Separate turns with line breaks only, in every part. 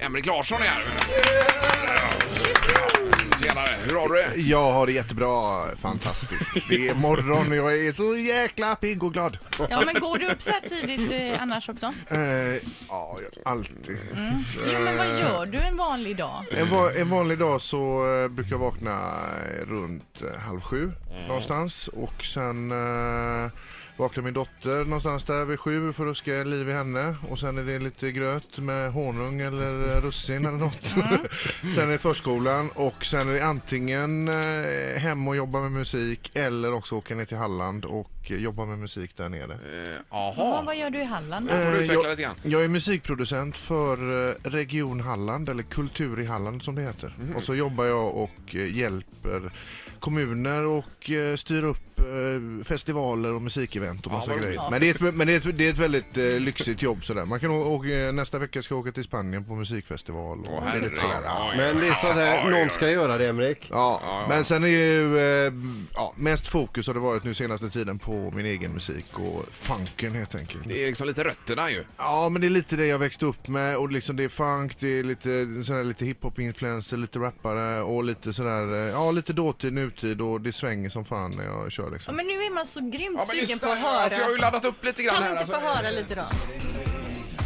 Henrik Larsson Eh, är här. Tjenare, hur har du det?
Jag har det jättebra, fantastiskt. Det är morgon och jag är så jäkla pigg och glad.
Ja, men går du upp så här tidigt eh, annars också?
Eh, ja, jag- alltid.
Jo, men vad gör du en vanlig dag?
En, va- en vanlig dag så eh, brukar jag vakna eh, runt eh, halv sju någonstans och sen eh, vaknar min dotter någonstans där vid sju för att ska liv i henne och sen är det lite gröt med honung eller eh, russin eller något. sen är det förskolan och sen är det antingen eh, hem och jobba med musik eller också åka ner till Halland och eh, jobba med musik där nere.
Eh,
Ja,
Jaha,
vad gör du i Halland?
får du
Eh,
utveckla
jag-
lite grann.
Jag är musikproducent för eh, Region Halland, eller Kultur i Halland som det heter.
Mhm.
Och så jobbar jag och eh, hjälper kommuner och eh, styr upp eh, festivaler och musikevent och
Ja,
massa
vad
grejer.
roligt.
Men, det är, ett, men det, är ett, det är ett väldigt eh, lyxigt jobb sådär. Man kan å- åka, nästa vecka ska jag åka till Spanien på musikfestival. Och
Åh,
det är
herregud.
lite sådär. ja.
Oj,
Men det är sånt
oj,
här,
oj,
någon
oj.
ska göra det Emrik.
Ja,
Ja, ja.
men sen är ju eh, ja, mest fokus har det varit nu senaste tiden på min egen musik och funken helt enkelt.
Det är liksom lite rötterna ju.
Ja, men det är lite det jag växte upp med och liksom det är funk, det är lite, sån här, lite hiphop-influencer, lite rappare och lite sådär, eh, ja lite dåtid, nutid och det svänger som fan när jag kör
Ja,
liksom.
men nu är man så grymt
Ja, men
sugen
just
på att
det.
höra.
Alltså, jag har ju laddat upp lite grann
Kan vi
här.
inte
Alltså.
få höra lite då?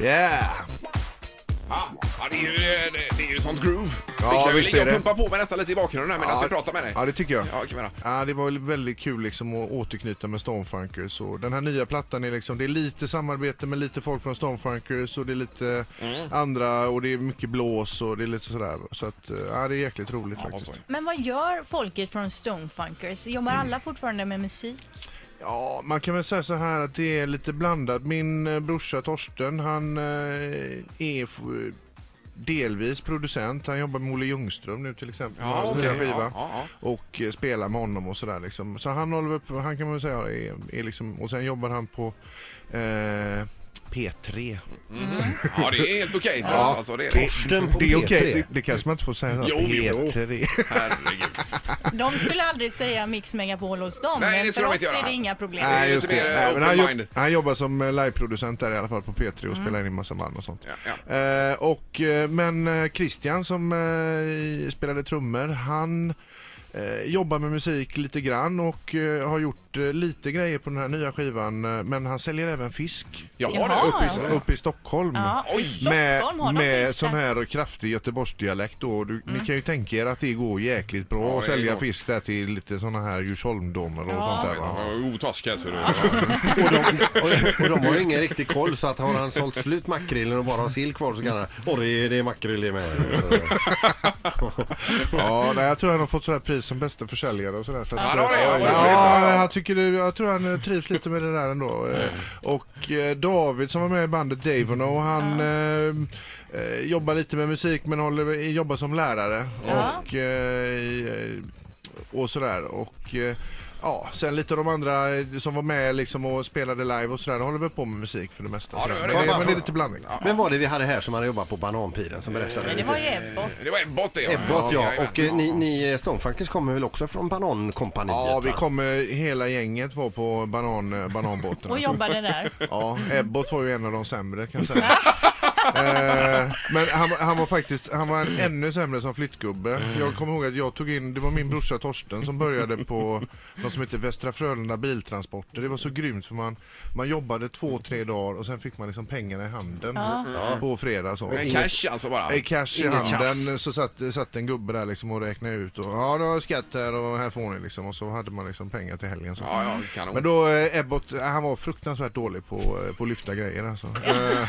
Yeah!
Ja, ja, det, är ju, det, det är ju sånt groove.
Ja,
vi kan ju
visst
ligga
är
och
det.
pumpa på med detta lite i bakgrunden här medan
Ja,
jag pratar med dig.
Ja, det tycker jag.
Ja, kan vi göra.
Ja, det var väl väldigt kul liksom att återknyta med Stonefunkers och den här nya plattan är liksom, det är lite samarbete med lite folk från Stonefunkers och det är lite
Mm.
andra och det är mycket blås och det är lite sådär. Så att, eh, ja det är jäkligt roligt
Ja, vad
faktiskt.
skoj.
Men vad gör folket från Stonefunkers? Jobbar alla fortfarande med musik?
Ja, man kan väl säga så här att det är lite blandat. Min eh, brorsa Torsten, han eh, är f- delvis producent. Han jobbar med Olle Ljungström nu till exempel. med hans nya
okej.
skiva.
Ja, ja, ja.
Och eh, spelar med honom och sådär liksom. Så han håller väl på, han kan man väl säga är, är liksom, och sen jobbar han på eh, P3.
Mhm. ja, det är helt okej för oss alltså. Det är det.
Torsten på
Det är okej,
P3.
det, det kanske man inte får säga.
Jo, jo.
P3.
Herregud.
De skulle aldrig säga Mix Megapol hos dem,
Nej, det skulle
men för
de
oss
inte göra.
är det inga problem.
är
Nej,
lite
just det.
mer, eh,
Nej, men han,
open-minded.
jobb, han jobbar som eh, liveproducent där i alla fall på P3 och
Mm.
spelar in massa band och sånt.
Ja,
Eh, och, eh, men eh, Christian som eh, spelade trummor, han eh, jobbar med musik lite grann och eh, har gjort eh, lite grejer på den här nya skivan. Eh, men han säljer även fisk
Jag har
Jaha,
det uppe i
ja.
så-
uppe i Stockholm.
Ja, i
Oj.
Med,
Stockholm har de
med
fisk Mm.
sån
där.
här kraftig göteborgsdialekt då. Du, Ni kan ju tänka er att det går jäkligt bra
Ja,
att
det
sälja
går.
fisk där till lite såna här Djursholmdomar och
Ja.
sånt där. Va?
Otaskig ser du.
Och de, och, och de har ju ingen riktig koll så att har han sålt slut makrillen och bara har sill kvar så kan han, åh det är, det är makrill i med.
Ja, nej, jag tror han har fått sådär pris som bästa försäljare och sådär. Så att- eh,
Ja, det har det. Ja, vad roligt.
Ja, jag, tycker, det- jag tror han eh, trivs lite med det där ändå. Eh, Och eh, David som var med i bandet Davon och han eh, eh, jobbar lite med musik men håller, jobbar som lärare.
Ja.
Och, eh, i- och sådär. Och, eh, Ja, sen lite av de andra eh, som var med liksom och spelade live och sådär, de håller väl på med musik för det mesta.
Ja, det gör det.
Men,
Bara
men det
fråga.
är lite blandning.
Men var det vi hade här som hade jobbat på Bananpiren som berättade?
Men Mm. det
lite?
var ju Ebbot.
Det var Ebbot det.
Ebbot ja, och eh,
jajamän.
ni, ni eh, Stonefunkers kommer väl också från Banankompaniet?
Ja, vi
va?
kommer, hela gänget var på banan, bananbåten.
Och
alltså.
jobbade där.
Ja, Ebbot var ju en av de sämre kan jag säga. eh, men han, han var faktiskt, han var en ännu sämre som flyttgubbe. Jag kommer ihåg att jag tog in, det var min brorsa Torsten som började på något som heter Västra Frölunda Biltransporter. Det var så grymt för man, man jobbade två, tre dagar och sen fick man liksom pengarna i handen på fredag. Så.
En cash alltså bara.
I cash i
Inget
handen så satt, satt en gubbe där liksom och räknade ut och ja du har skatt här och här får ni liksom och så hade man liksom pengar till helgen så.
Ja, ja, kanon.
Men då eh, Ebbot, eh, han var fruktansvärt dålig på, eh, på att lyfta grejer alltså. Eh,